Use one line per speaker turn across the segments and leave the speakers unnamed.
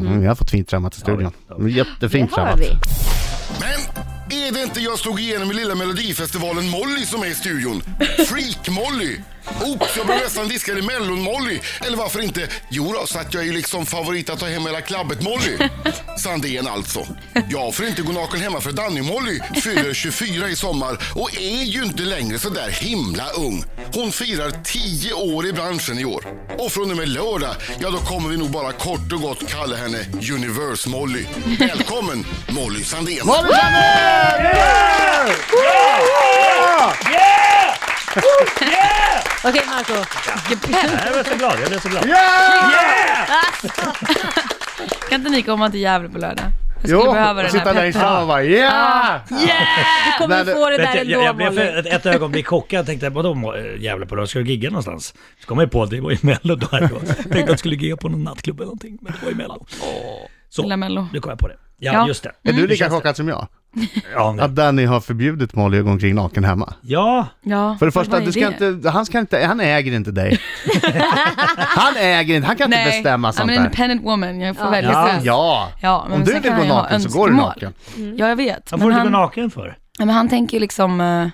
Mm.
Mm, vi har fått fint trimmat i studion. Jättefint
det har
trimmat.
vi.
Men är det inte jag slog igenom i lilla melodifestivalen Molly som är i studion? Freak-Molly! Oops, jag blev nästan diskad i Mellon-Molly. Eller varför inte? Jo då, så att jag är ju liksom favorit att ta hem hela klabbet-Molly. Sandén alltså. Jag får inte gå naken hemma för Danny-Molly fyller 24 i sommar och är ju inte längre så där himla ung. Hon firar 10 år i branschen i år. Och från och med lördag, ja då kommer vi nog bara kort och gott kalla henne Universe-Molly. Välkommen Molly Sandén!
Molly Sandén!
Okej Marco.
Jag blev så glad, jag blev så glad.
Kan inte ni komma till Gävle på lördag? Jag skulle
Jo,
behöva
och
den
sitta
här
där i
peppen.
stan och bara yeah!
Du kommer
Nej,
få det
Vet
där
du, jag, jag
ändå
blev
Molly.
för ett, ett ögonblick chockad och tänkte vadå må- eh, jävla på det, ska du gigga någonstans? Så kom jag på att det var i Mello då. Jag tänkte att jag skulle gigga på någon nattklubb eller någonting, men det var i Mello.
Lilla
Så,
Mello.
nu kom jag på det. Ja,
Ja. Mm.
just det.
Är du
Hur
lika
känns det?
chockad som jag?
Ja, nej.
Att Danny har förbjudit Molly att gå omkring naken hemma.
ja,
Ja,
För det
men
första,
vad är
du ska inte, han, ska inte, han äger inte dig. han äger inte, han kan inte
Nej,
bestämma sånt
I'm an
där.
independent woman. Jag får välja
Ja,
själv.
ja.
Ja, men
Om du
sen
vill
kan
gå
jag ha
naken så går du
önskemål. Mm.
naken.
Ja, jag vet.
han
Men
får inte
han,
gå naken för.
men han tänker ju liksom eh,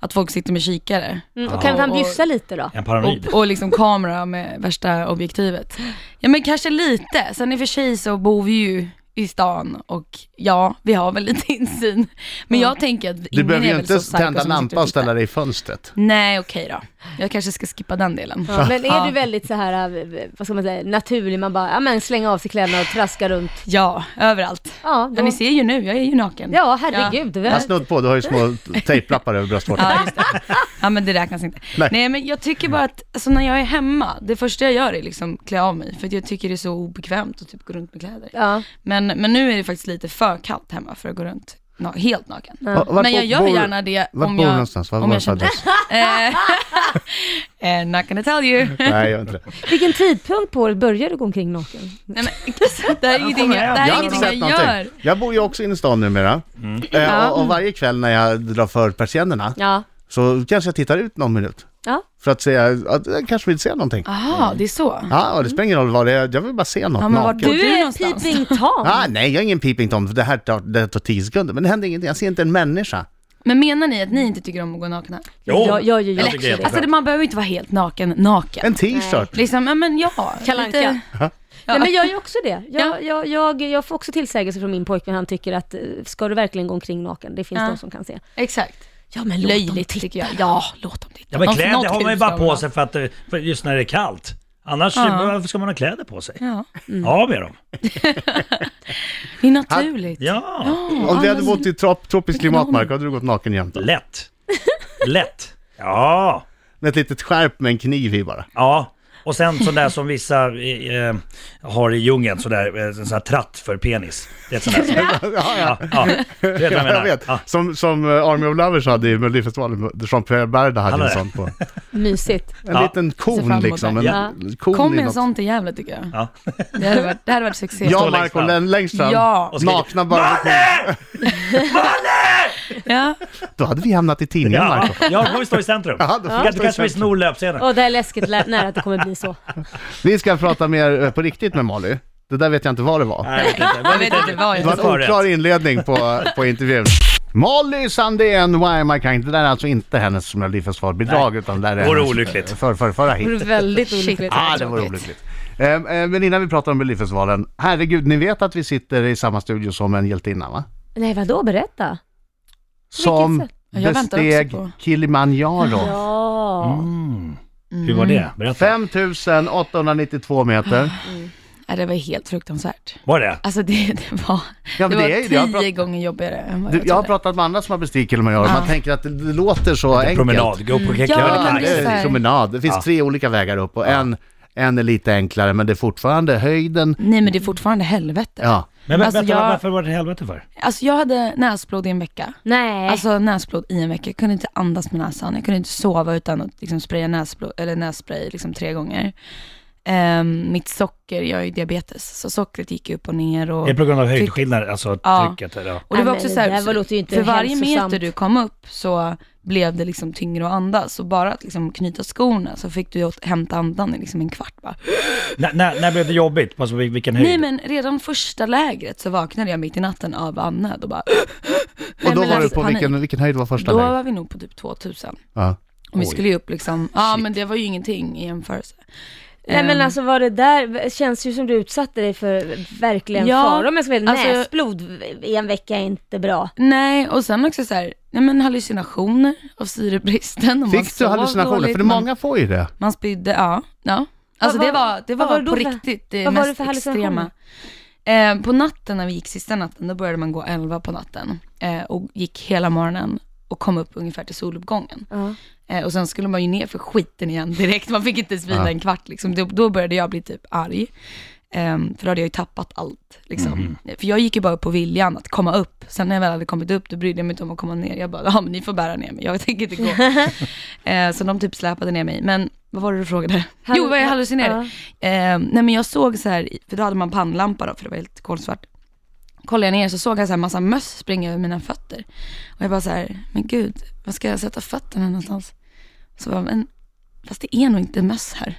att folk sitter med kikare.
Mm, och kan han bjussa lite då?
En paranoid.
Och, och liksom kamera med värsta objektivet. Ja men kanske lite. Sen i och för sig så bor vi ju i stan och ja, vi har väl lite insyn. Men jag tänker att
Du
ingen
behöver
är
ju
väl
inte
så psycho
tända
som sitter
lampa och
tittar.
ställa dig i fönstret.
Nej okej då. Jag kanske ska skippa den delen.
Ja, men är
Ja.
du väldigt så här, eh, vad ska man säga, naturlig? Man bara, ja men slänga av sig kläderna och traska runt.
Ja, överallt.
Ja,
Ja,
då.
ni ser ju nu, jag är ju naken.
ja herregud. Vi
Han
har-
snudd på, du har ju små tejplappar över bröstvårtan.
Ja, just det. ja men det räknas inte.
Nej.
Nej, men jag tycker bara att, alltså, när jag är hemma, det första jag gör är liksom klä av mig. För att jag tycker det är så obekvämt att typ gå runt med kläder.
Ja.
Men, men nu är det faktiskt lite för kallt hemma för att gå runt na- helt naken.
Va- vart
men jag
bo-
gör
bor-
gärna det
Var
om
bor du
jag,
någonstans? Var
om
var
jag känner...
föddes?
Eh, not gonna tell you.
Nej, jag vet inte det.
Vilken tidpunkt på året börjar du gå omkring naken?
Nej, men, det här är ingenting jag, det
Jag
här
har
är
inte
ingenting jag
sett någonting.
gör.
Jag bor ju också inne i stan numera.
Mm.
Eh, och, och varje kväll när jag drar för persiennerna
Ja.
så kanske jag tittar ut någon minut.
Ja.
För att säga att jag kanske vill se någonting.
Jaha, det är så.
Ja, och det spelar ingen roll vad det är. Jag vill bara se något
Ja, men vad
naket.
Bor
Du
du
är
någonstans?
peeping tom.
Ah, nej, jag är ingen peeping tom. Det här tar, det här tar tio sekunder. Men det händer ingenting. Jag ser inte en människa.
Men menar ni att ni inte tycker om att gå nakna?
Jo,
Jag- jag gör ju
jag
det.
tycker det är
Alltså det-
jättebra.
man behöver ju inte vara helt naken, naken.
En t-shirt.
Liksom, ja men ja.
Kalle Anka.
lite-
Nej men jag gör också det. Jag,
Ja.
jag, jag, jag får också tillsägelse från min pojkvän, han tycker att eh, ska du verkligen gå omkring naken? Det finns
Ja.
de som kan se.
Exakt.
Ja men låt dem
Löjligt
titta.
tycker jag. Ja, låt dem titta.
Ja, men
Någon-
kläder
något
har man ju
hus
bara
har
på
man.
sig för att, eh, för just när det är kallt. Annars,
Ja. Mm.
varför ska man ha kläder på sig?
Ja.
Ja, med dem.
Det är naturligt.
Ja,
Om vi hade bott i trop, tropiskt
Vilken
klimat,
ordning.
Mark, hade du gått naken jämt då?
lätt. Lätt. Ja.
Med ett litet skärp med en kniv i bara.
Ja, och sen sån där som vissa eh, har i djungeln, sån där, eh, sån här tratt för penis. Det är sån där. som-
Ja, ja.
Ja, ja, du vet vad jag
Jag
menar.
vet.
Ja.
Som, som eh, Army of Lovers hade i Melodifestivalen, Jean-Pierre Berda hade
Han
en
är-
sån på.
Mysigt.
En
Ja.
liten
Ser
kon
fram emot
liksom. En
det.
Ja.
kon
Kom
i
en
något.
sån till Gävle tycker jag.
Ja.
Det hade varit, det hade varit succé.
Jag
Stå
och
längst
Marko
fram.
längst fram,
Ja. Och
skrika,
nakna bara.
Ja.
Då hade vi hamnat i tidningen
Ja,
Marko.
ja, då får vi stå i centrum.
Ja, då får vi
Du
stå i
kanske vi
centrum.
snor löpsedeln.
Och det är läskigt lä- nära att det kommer bli så.
Vi ska prata mer eh, på riktigt med Molly. Det där vet jag inte vad det var.
Nej, jag vet inte.
Jag vet inte vad
Det
jag
var en
Förrätt.
oklar inledning på, på intervjun. Molly Sandén, Why Am I Kind? Det där är alltså inte hennes melodifestivalbidrag utan det där är
Vore
hennes,
olyckligt.
eh, För, för, förra
Det
hit.
vore väldigt
Shit.
olyckligt.
Ja, ah, det vore olyckligt. Eh, eh, Men innan vi pratar om Melodifestivalen, herregud, ni vet att vi sitter i samma studio som en hjältinna va?
Nej vadå, berätta.
Som
sätt?
Ja, jag väntar också
besteg
på-
Kilimanjaro.
Ja.
Mm. Hur var det? Berätta.
5892 meter.
Ja, det var helt fruktansvärt.
Var det?
Alltså det, det var,
Ja,
det
men
var
det är ju det.
tio
Jag har pratat-
gånger jobbigare än vad
Du,
jag
jag har
trodde.
pratat med andra som har bestigit Kilimanjaro, man tänker att det, det låter så enkelt.
Promenad. Gå på
Ah. Ja,
Ja,
men
det
det är så
är
här.
promenad. Det finns tre olika vägar upp och en, en är lite enklare men det är fortfarande höjden.
Nej men det är fortfarande helvete.
Ja.
Men vä-
Alltså,
vänta,
jag-
varför var det helvete för?
Alltså jag hade näsblod i en vecka.
Nej.
Alltså näsblod i en vecka. Jag kunde inte andas med näsan. Jag kunde inte sova utan att liksom spraya näsblod, eller nässpray liksom tre gånger. Ehm, mitt socker, jag har ju diabetes, så sockret gick upp och ner. Och...
Är det på grund av höjdskillnader, alltså
Ja.
trycket? Eller?
Och det
Nej,
var
men
också
det
så här,
där var- låter ju inte
för varje
hälsosamt.
meter du kom upp så blev det liksom tyngre att andas. Och bara att liksom knyta skorna så fick du ju åt- hämta andan i liksom en kvart bara.
När, när, när blev det jobbigt? Alltså, vil- vilken höjd?
Nej men redan första lägret så vaknade jag mitt i natten av andnöd och bara
Och då
men
var du
alltså,
på
panik.
vilken, vilken höjd var första
Då
läget?
var vi nog på typ 2000.
Ja.
Och vi
Oj.
skulle ju upp liksom, ja men det var ju ingenting i jämförelse.
Nej men
Ehm,
alltså var det där, känns ju som du utsatte dig för verkligen
Ja,
fara om jag ska vara
alltså-
alltså, Näsblod i en vecka är inte bra.
Nej, och sen också så här, nej men hallucinationer av syrebristen. Och man
Fick du
sov
hallucinationer?
dåligt,
För det
man-
många får ju det.
Man spydde, ja. ja. Alltså
Vad
det
var-
var, det var,
vad var det
på
då för-
riktigt det
vad var det
mest
för
extrema.
hallucinationer?
Eh, på natten när vi gick sista natten, då började man gå 11 på natten eh, och gick hela morgonen och kom upp ungefär till soluppgången.
Ja.
Eh, och sen skulle man ju ner för skiten igen direkt, man fick inte ens vila
Ja.
en kvart liksom. då, då började jag bli typ arg. Ehm, för då hade jag ju tappat allt. Liksom. För jag gick ju bara upp på viljan att komma upp. Sen när jag väl hade kommit upp, då brydde jag mig inte om att komma ner. Jag bara, ja men ni får bära ner mig, jag tänker inte gå. Eh, så de typ släpade ner mig. Men vad var det du frågade?
Hall-
jo, vad jag hallucinerade.
Ja.
Eh, nej men jag såg så här, för då hade man pannlampa då, för det var helt kolsvart. Kollade jag ner så såg jag så här massa möss springa över mina fötter. Och jag bara så här, men gud, var ska jag sätta fötterna någonstans? Så bara, men fast det är nog inte möss här.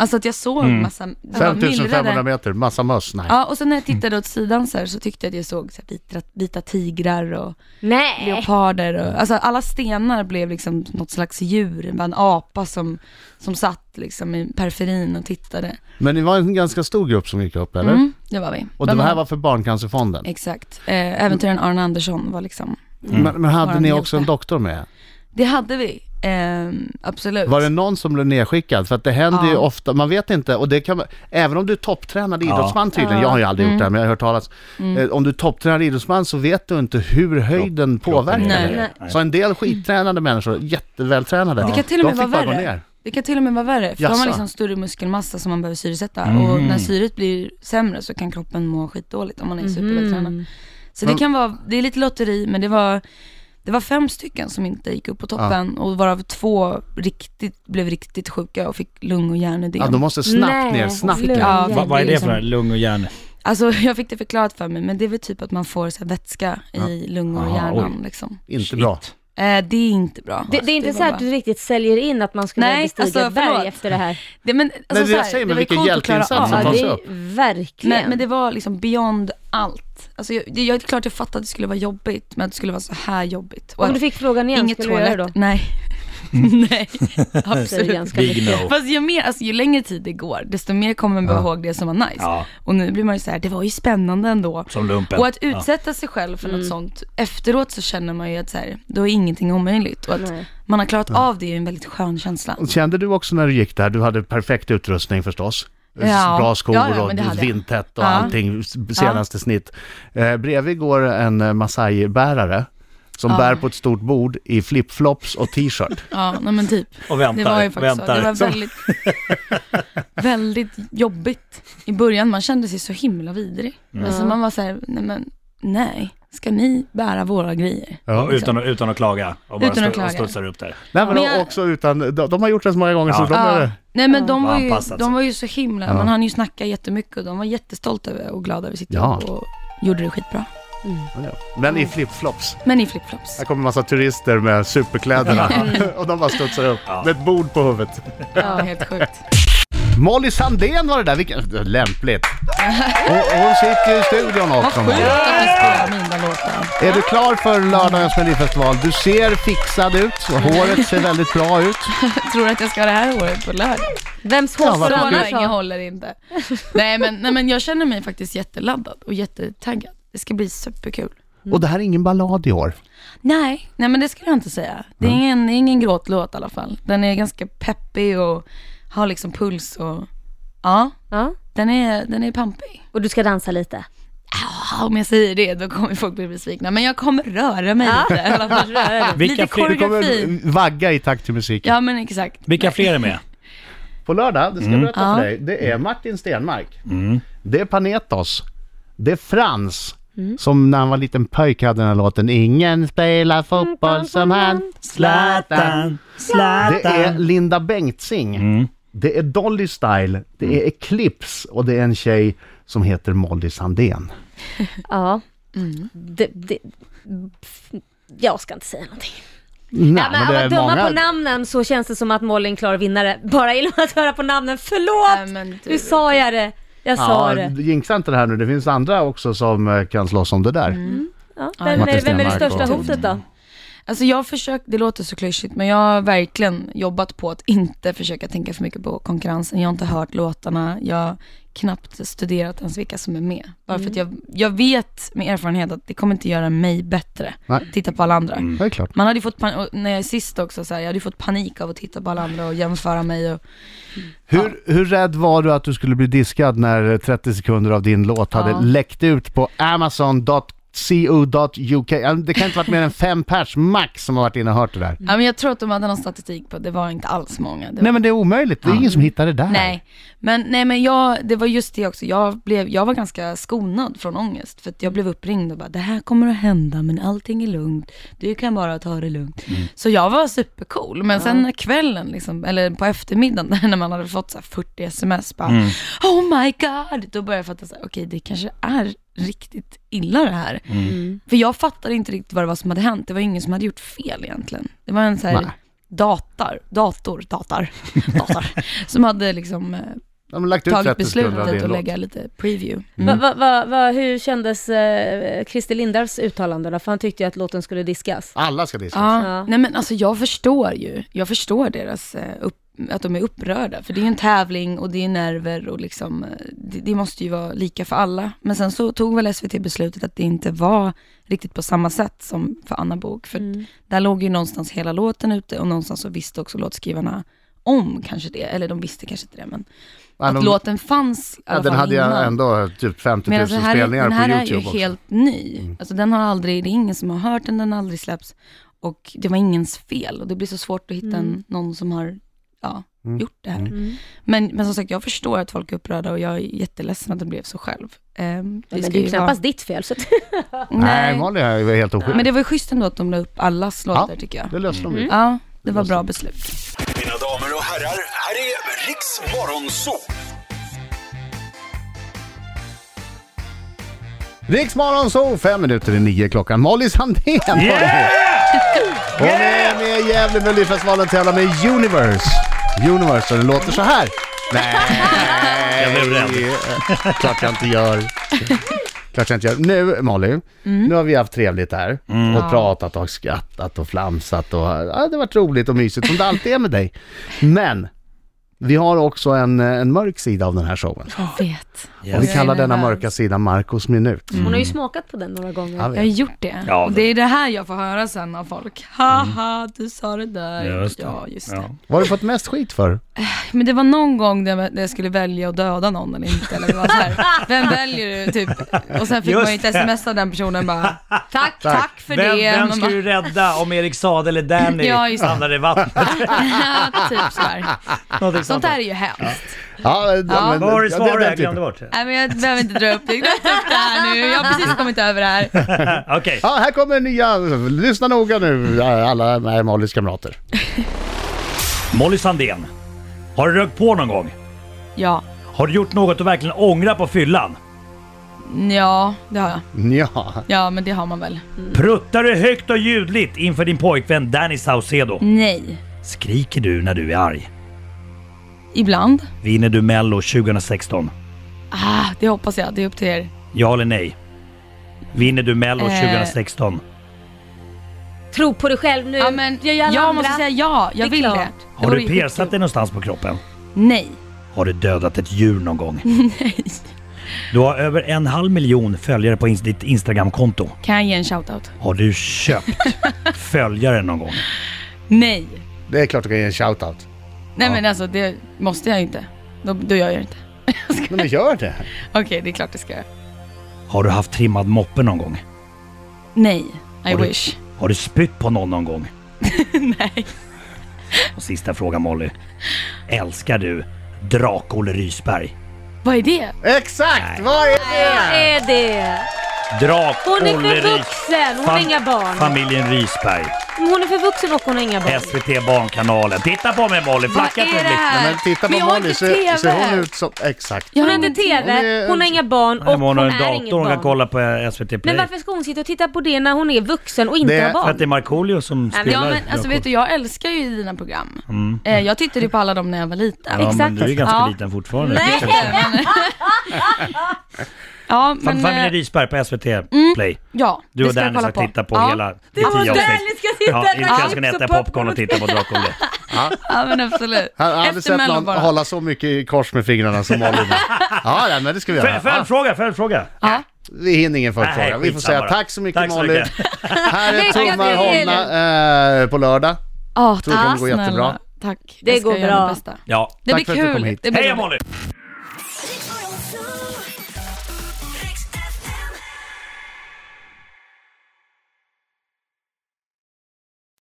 Alltså att jag såg massa, det var
5500
myllrade.
meter, massa möss. Nej.
Ja, och sen när jag tittade åt sidan så, här, så tyckte jag att jag såg så här vita, vita tigrar och
Nej.
leoparder och, alltså alla stenar blev liksom något slags djur, det var en apa som, som satt liksom i periferin och tittade.
Men det var en ganska stor grupp som gick upp, eller?
Mm, det var vi.
Och det här var för Barncancerfonden.
Exakt. Eh, äventyren Arne Andersson var liksom,
Men, men hade
Våran
ni
hjälte.
också en doktor med?
det hade vi, Ehm, absolut.
Var det någon som blev nedskickad? För att det händer ju
Ja.
ofta, man vet inte, och det kan, man- även om du är topptränad idrottsman tydligen, jag har ju aldrig gjort det
Mm.
här men jag har hört talas, Eh, om du är topptränad idrottsman så vet du inte hur höjden påverkar
kroppen.
Nej.
dig. Så en del skittränade människor, jättevältränade,
Det kan till och
de
med
fick
vara
bara gå
värre.
ner.
det kan till och med vara värre, för då har
Jaså? Mhm.
man liksom större muskelmassa som man behöver syresätta och när syret blir sämre så kan kroppen må skitdåligt om man är
Mhm.
supervältränad. Så det kan vara, det är lite lotteri men det var, det var fem stycken som inte gick upp på toppen och varav två riktigt, blev riktigt sjuka och fick lung och hjärnödem.
Ja, de måste snabbt
Nej,
ner, snabbt
lugn.
ner.
Ja,
Va, vad är
det är
det för
liksom-
något? Lung och hjärn?
Alltså jag fick det förklarat för mig, men det är väl typ att man får så här, vätska i lungor och
Ah,
hjärnan
oj.
liksom.
Inte bra.
Eh, det är inte bra.
Det, det är inte
var
så här
bara-
att du riktigt säljer in att man skulle
Nej,
bestiga
alltså,
ett berg
förlåt.
efter det här.
Det, men, alltså,
Men det
så här,
jag säger, men
var ju
vilken
coolt att
hjälteinsats
klara av.
som
Ja,
tas
det
upp.
är verkligen.
Men, men det var liksom beyond allt. Alltså, jag, det, jag, det är klart jag fattade att det skulle vara jobbigt, men att det skulle vara så här jobbigt. Och
Om du fick frågan igen,
inget
skulle du göra
toalett.
det då? Mm.
Nej. Nej,
Säger
absolut.
ganska
Big
mycket.
no.
Fast ju, mer, alltså, ju längre tid det går, desto mer kommer man bara ihåg det som var nice.
Ja.
Och nu blir man ju så här, det var ju spännande ändå.
Som lumpen.
Och att utsätta sig själv för
Mm.
något sånt, efteråt så känner man ju att så här, då är ingenting omöjligt. Och att
Nej.
man har klarat av det är ju en väldigt skön känsla.
Kände du också när du gick där, du hade perfekt utrustning förstås?
Ja.
Bra skor
Ja, ja, men det
och
hade jag.
vindtätt och
Ja.
allting, s- senaste snitt. Eh, bredvid går en eh, Masai-bärare som bär på ett stort bord i flipflops och t-shirt.
Ja, nej men typ.
Och
Det
väntar.
var ju faktiskt så.
väntar. liksom.
Det var väldigt, väldigt jobbigt i början. Man kände sig så himla vidrig.
Mm.
Alltså man var så här, nej men, nej, ska ni bära våra grejer?
Ja, utan, att- utan att klaga. Och bara
Utan att
stå- och
klaga.
studsar upp där.
Nej men
Men jag-
också utan, de, de har gjort det så många gånger så de
Ja.
är...
Nej men de
Ja,
var, ju,
anpassat sig.
de var ju så himla, man hann ju snacka jättemycket och de var jättestolta över och glada över sitt
Ja.
jobb och gjorde det skitbra.
Men i flipflops.
Men i flipflops.
Här kommer massa turister med superkläderna och de bara studsar upp med ett bord på huvudet.
Ja, helt sjukt.
Molly Sandén var det där, vilken... Lämpligt. Och, och hon sitter ju i studion
Vad
också.
sjukt
Molly.
att du spelar mina låtar.
Är du klar för lördagens Melodifestival? Du ser fixad ut, håret ser väldigt bra ut.
Tror du att jag ska ha det här håret på lördag?
Vems
Ja,
hår
varför skulle-
ja,
Corona
annars
länge
ha?
håller inte. Nej men, nej men jag känner mig faktiskt jätteladdad och jättetaggad. Det ska bli superkul.
Och det här är ingen ballad i år.
Nej, nej men det skulle jag inte säga. Det är ingen, det är ingen gråtlåt i alla fall. Den är ganska peppig och har liksom puls och ja,
Ja.
den är, den är pampig.
Och du ska dansa lite?
Mm. Ja, om jag säger det då kommer folk bli besvikna. Men jag kommer röra mig lite i alla fall.
Vilka
lite
fri-
Du
koreografi.
kommer vagga i takt till musiken.
Ja men exakt.
Vilka fler är med?
På lördag, det ska jag berätta för
Ja.
dig, det är Martin Stenmark. Det är Panetos. Det är Frans. Som när han var liten pojk hade den här låten Ingen spelar fotboll som han
Zlatan,
Det är
Zlatan.
Linda Bengtzing. Det är Dolly Style, det är Eclipse och det är en tjej som heter Molly Sandén.
Ja. Det, det, jag ska inte säga någonting.
Nej,
Ja, men
men det
av
är
att döma
många...
på namnen så känns det som att Molly är en klar vinnare. Bara genom att höra på namnen.
Nej,
Förlåt!
men du-
Nu sa jag det. Jag sa
Ja,
det.
jinxa inte det här nu. Det finns andra också som eh, kan slåss om det där.
Mm.
Ja,
Ja,
vem, är,
Martin
vem är det
Stenmarck
största
och-
hotet då?
Alltså jag har försökt, det låter så klyschigt, men jag har verkligen jobbat på att inte försöka tänka för mycket på konkurrensen. Jag har inte hört låtarna, jag har knappt studerat ens vilka som är med. Bara för att jag, jag vet med erfarenhet att det kommer inte göra mig bättre,
Nej. Mm.
titta på alla andra.
Det är klart.
Man hade ju fått pan- och när jag är sist också, så här, jag hade ju fått panik av att titta på alla andra och jämföra mig. Och,
Hur, hur rädd var du att du skulle bli diskad när 30 sekunder av din låt hade
Ja.
läckt ut på Amazon.co.uk? Ja, Det kan inte varit mer än fem pers max som har varit inne och hört det där.
ja, men jag tror att de hade någon statistik på att det var inte alls många. Det
Nej men det är omöjligt, det är ingen som hittar det där.
Nej, men, nej, men jag, det var just det också. Jag, blev, jag var ganska skonad från ångest. För att jag blev uppringd och bara, det här kommer att hända, men allting är lugnt. Du kan bara ta det lugnt. Så jag var supercool. Men sen när kvällen, liksom, eller på eftermiddagen, när man hade fått så här 40 sms, bara, oh my god. Då började jag fatta, så här, okej, det kanske är riktigt illa det här. För jag fattade inte riktigt vad det var som hade hänt. Det var ingen som hade gjort fel egentligen. Det var en så här
Nej.
dator, dator, dator, dator, som hade liksom eh,
De har lagt ut
tagit
30 sekunder av
beslutet
din
att
låt.
lägga lite preview.
Va, va, va, va, hur kändes eh, Christer Lindarws uttalande då? För han tyckte ju att låten skulle diskas.
Alla ska diskas.
Ja.
Ja.
Nej men alltså jag förstår ju, jag förstår deras, eh, upp, att de är upprörda. För det är ju en tävling och det är nerver och liksom, eh, det, det måste ju vara lika för alla. Men sen så tog väl SVT beslutet att det inte var riktigt på samma sätt som för Anna Bok För att där låg ju någonstans hela låten ute och någonstans så visste också låtskrivarna om kanske det, eller de visste kanske inte det men
Men
att
de-
låten fanns i alla
ja, den
fall
hade jag
innan.
ändå typ 50 000
Men alltså, här, är-
spelningar
den här
på
är ju
YouTube också.
helt ny. Alltså den har aldrig, det är ingen som har hört den, den har aldrig släppts. Och det var ingens fel och det blir så svårt att hitta en, någon som har ja, gjort det här. Men, men som sagt, jag förstår att folk är upprörda och jag är jätteledsen att det blev så själv. Ehm,
Men
ska
det är ju
ju
knappast ditt fel. Så att,
vara-
Nej, Molly är ju helt oskyldig.
Men det var ju schysst ändå att de la upp allas låtar tycker jag. Mm.
det löste de ju.
Ja, det var bra beslut.
Mina damer och herrar, här är Riks Morgonzoo!
Riksmorgon så fem minuter i nio klockan. Molly Sandén var det. Hon är med i Gävle Melodifestivalen och tävlar med Universe. Universe, och det låter så här. Nej,
Jag blev rädd.
eh, klart jag inte gör. Klart jag inte gör. Nu Molly,
Mm.
nu har vi haft trevligt här och pratat och skrattat och flamsat och ja, det har varit roligt och mysigt som det alltid är med dig. Men vi har också en, en mörk sida av den här showen.
Jag vet.
Och vi
Jag är
kallar denna
nervös.
mörka sida Marcos minut.
Mm.
hon har ju smakat på den några gånger.
Ja,
Jag har gjort det.
Ja,
och det är det här jag får höra sen av folk. Haha, du sa det där.
Just det.
Ja, just det.
Ja.
Vad har du fått mest skit för?
Men det var någon gång där jag- där jag skulle välja att döda någon eller inte. Eller det var så här, vem väljer du? Typ. Och sen fick
Just
man ju ett
det.
sms av den personen bara, tack, tack, för
Vem,
det.
vem
Man
ska du
bara,
rädda om Erik Saade eller Danny
Ja, just det.
hamnar i vattnet?
ja, typ så här.
Någonting
Sånt där är ju hemskt.
Ja, ja. Men,
Vad var det
ja,
svaret?
den
Jag
typen.
glömde bort det.
Nej men jag behöver inte dra upp det. Jag har glömt upp det här nu. Jag har precis kommit över det här.
Okej.
Ja, här kommer nya. Lyssna noga nu, alla med Mollys kamrater.
Molly Sandén. Har du rökt på någon gång?
Ja,
Har du gjort något du verkligen ångrar på fyllan?
ja det har jag.
Ja,
Ja men det har man väl.
Pruttar du högt och ljudligt inför din pojkvän Danny Saucedo?
Nej.
Skriker du när du är arg?
Ibland.
Vinner du Mello 2016?
Ah, det hoppas jag. Det är upp till er.
Ja eller nej? Vinner du Mello
Eh.
2016?
Tro på dig själv nu.
Ja, men
Gör alla
jag
andra.
måste säga ja.
Det
Jag
är
vill
klart.
det. Det
Har
vore
du
ju
persat
skitkul.
dig någonstans på kroppen?
Nej.
Har du dödat ett djur någon gång? Du har över en halv miljon följare på ins- ditt Instagramkonto.
Kan jag ge en shoutout?
Har du köpt följare någon gång?
Nej.
det är klart du kan ge en shoutout.
Nej men alltså det måste jag ju inte. Då, då gör jag det inte.
Nej, Men gör det.
Okej, det är klart det ska jag.
Har du haft trimmad moppe någon gång?
Nej, I
du-
wish.
Har du spytt på någon någon gång?
Nej.
Och sista frågan Molly. Älskar du Drak-Olle Rysberg?
Vad är det?
Exakt, vad är det?
Vad är det? Hon är
Drak-Olle
för
Rys-
vuxen, hon har
Fam-
inga barn.
Familjen Rysberg.
Men hon är för vuxen och hon har inga barn.
SVT Barnkanalen. Titta på mig Molly,
Vad
flacka
är
till
det
blicken.
här?
Men titta på
Men jag har
Molly,
inte
ser,
TV.
ser hon ut som... Exakt.
Jag
Hon
har
har inte
inte-
Hon
TV,
är-
hon har inga barn och
Nej, men
hon
hon har en
är inget
dator hon kan
barn.
kolla på SVT Play.
Men varför ska hon sitta och titta på det när hon är vuxen och inte
Det-
har
För att det är
barn?
Markoolio som
men-
spelar.
Ja men alltså
Jakob. Mm.
vet du, jag älskar ju dina program. Eh, jag tittade ju på alla dem när jag var liten.
Ja, men
Exakt.
du är ganska
Ja.
liten fortfarande.
Nej! men- ja
Fam-
men...
Familjen
eh,
Rysberg på SVT Play.
Ja,
Du
det
och
ska jag
Danny
kolla
ska titta på hela... Det
var där ni ska titta
Ja,
på
inte ens
chips
kunna
och
äta
popcorn
popcorn och titta på Drakolio.
Ja men absolut.
Jag har aldrig sett någon
Mellon
hålla så mycket i kors med fingrarna som Molly. nu. ja, ja, men det ska vi göra. Ja,
Följdfråga, följdfråga!
Ja.
vi hinner ingen följdfråga.
Nej,
Vi får säga
skitsamma då.
tack så mycket
Tack så
Molly.
mycket.
Här är
Lycka
tummar
till!
hållna eh, på lördag.
Ja,
Tror det kommer
tack
gå jättebra.
snälla. Tack.
Det
Jag ska
går
göra mitt
bra.
bästa.
Ja.
Det
Tack för
blir
att du kom
kul.
hit.
Det blir
Hej
roligt.
Molly!
Riks Morgonzoo.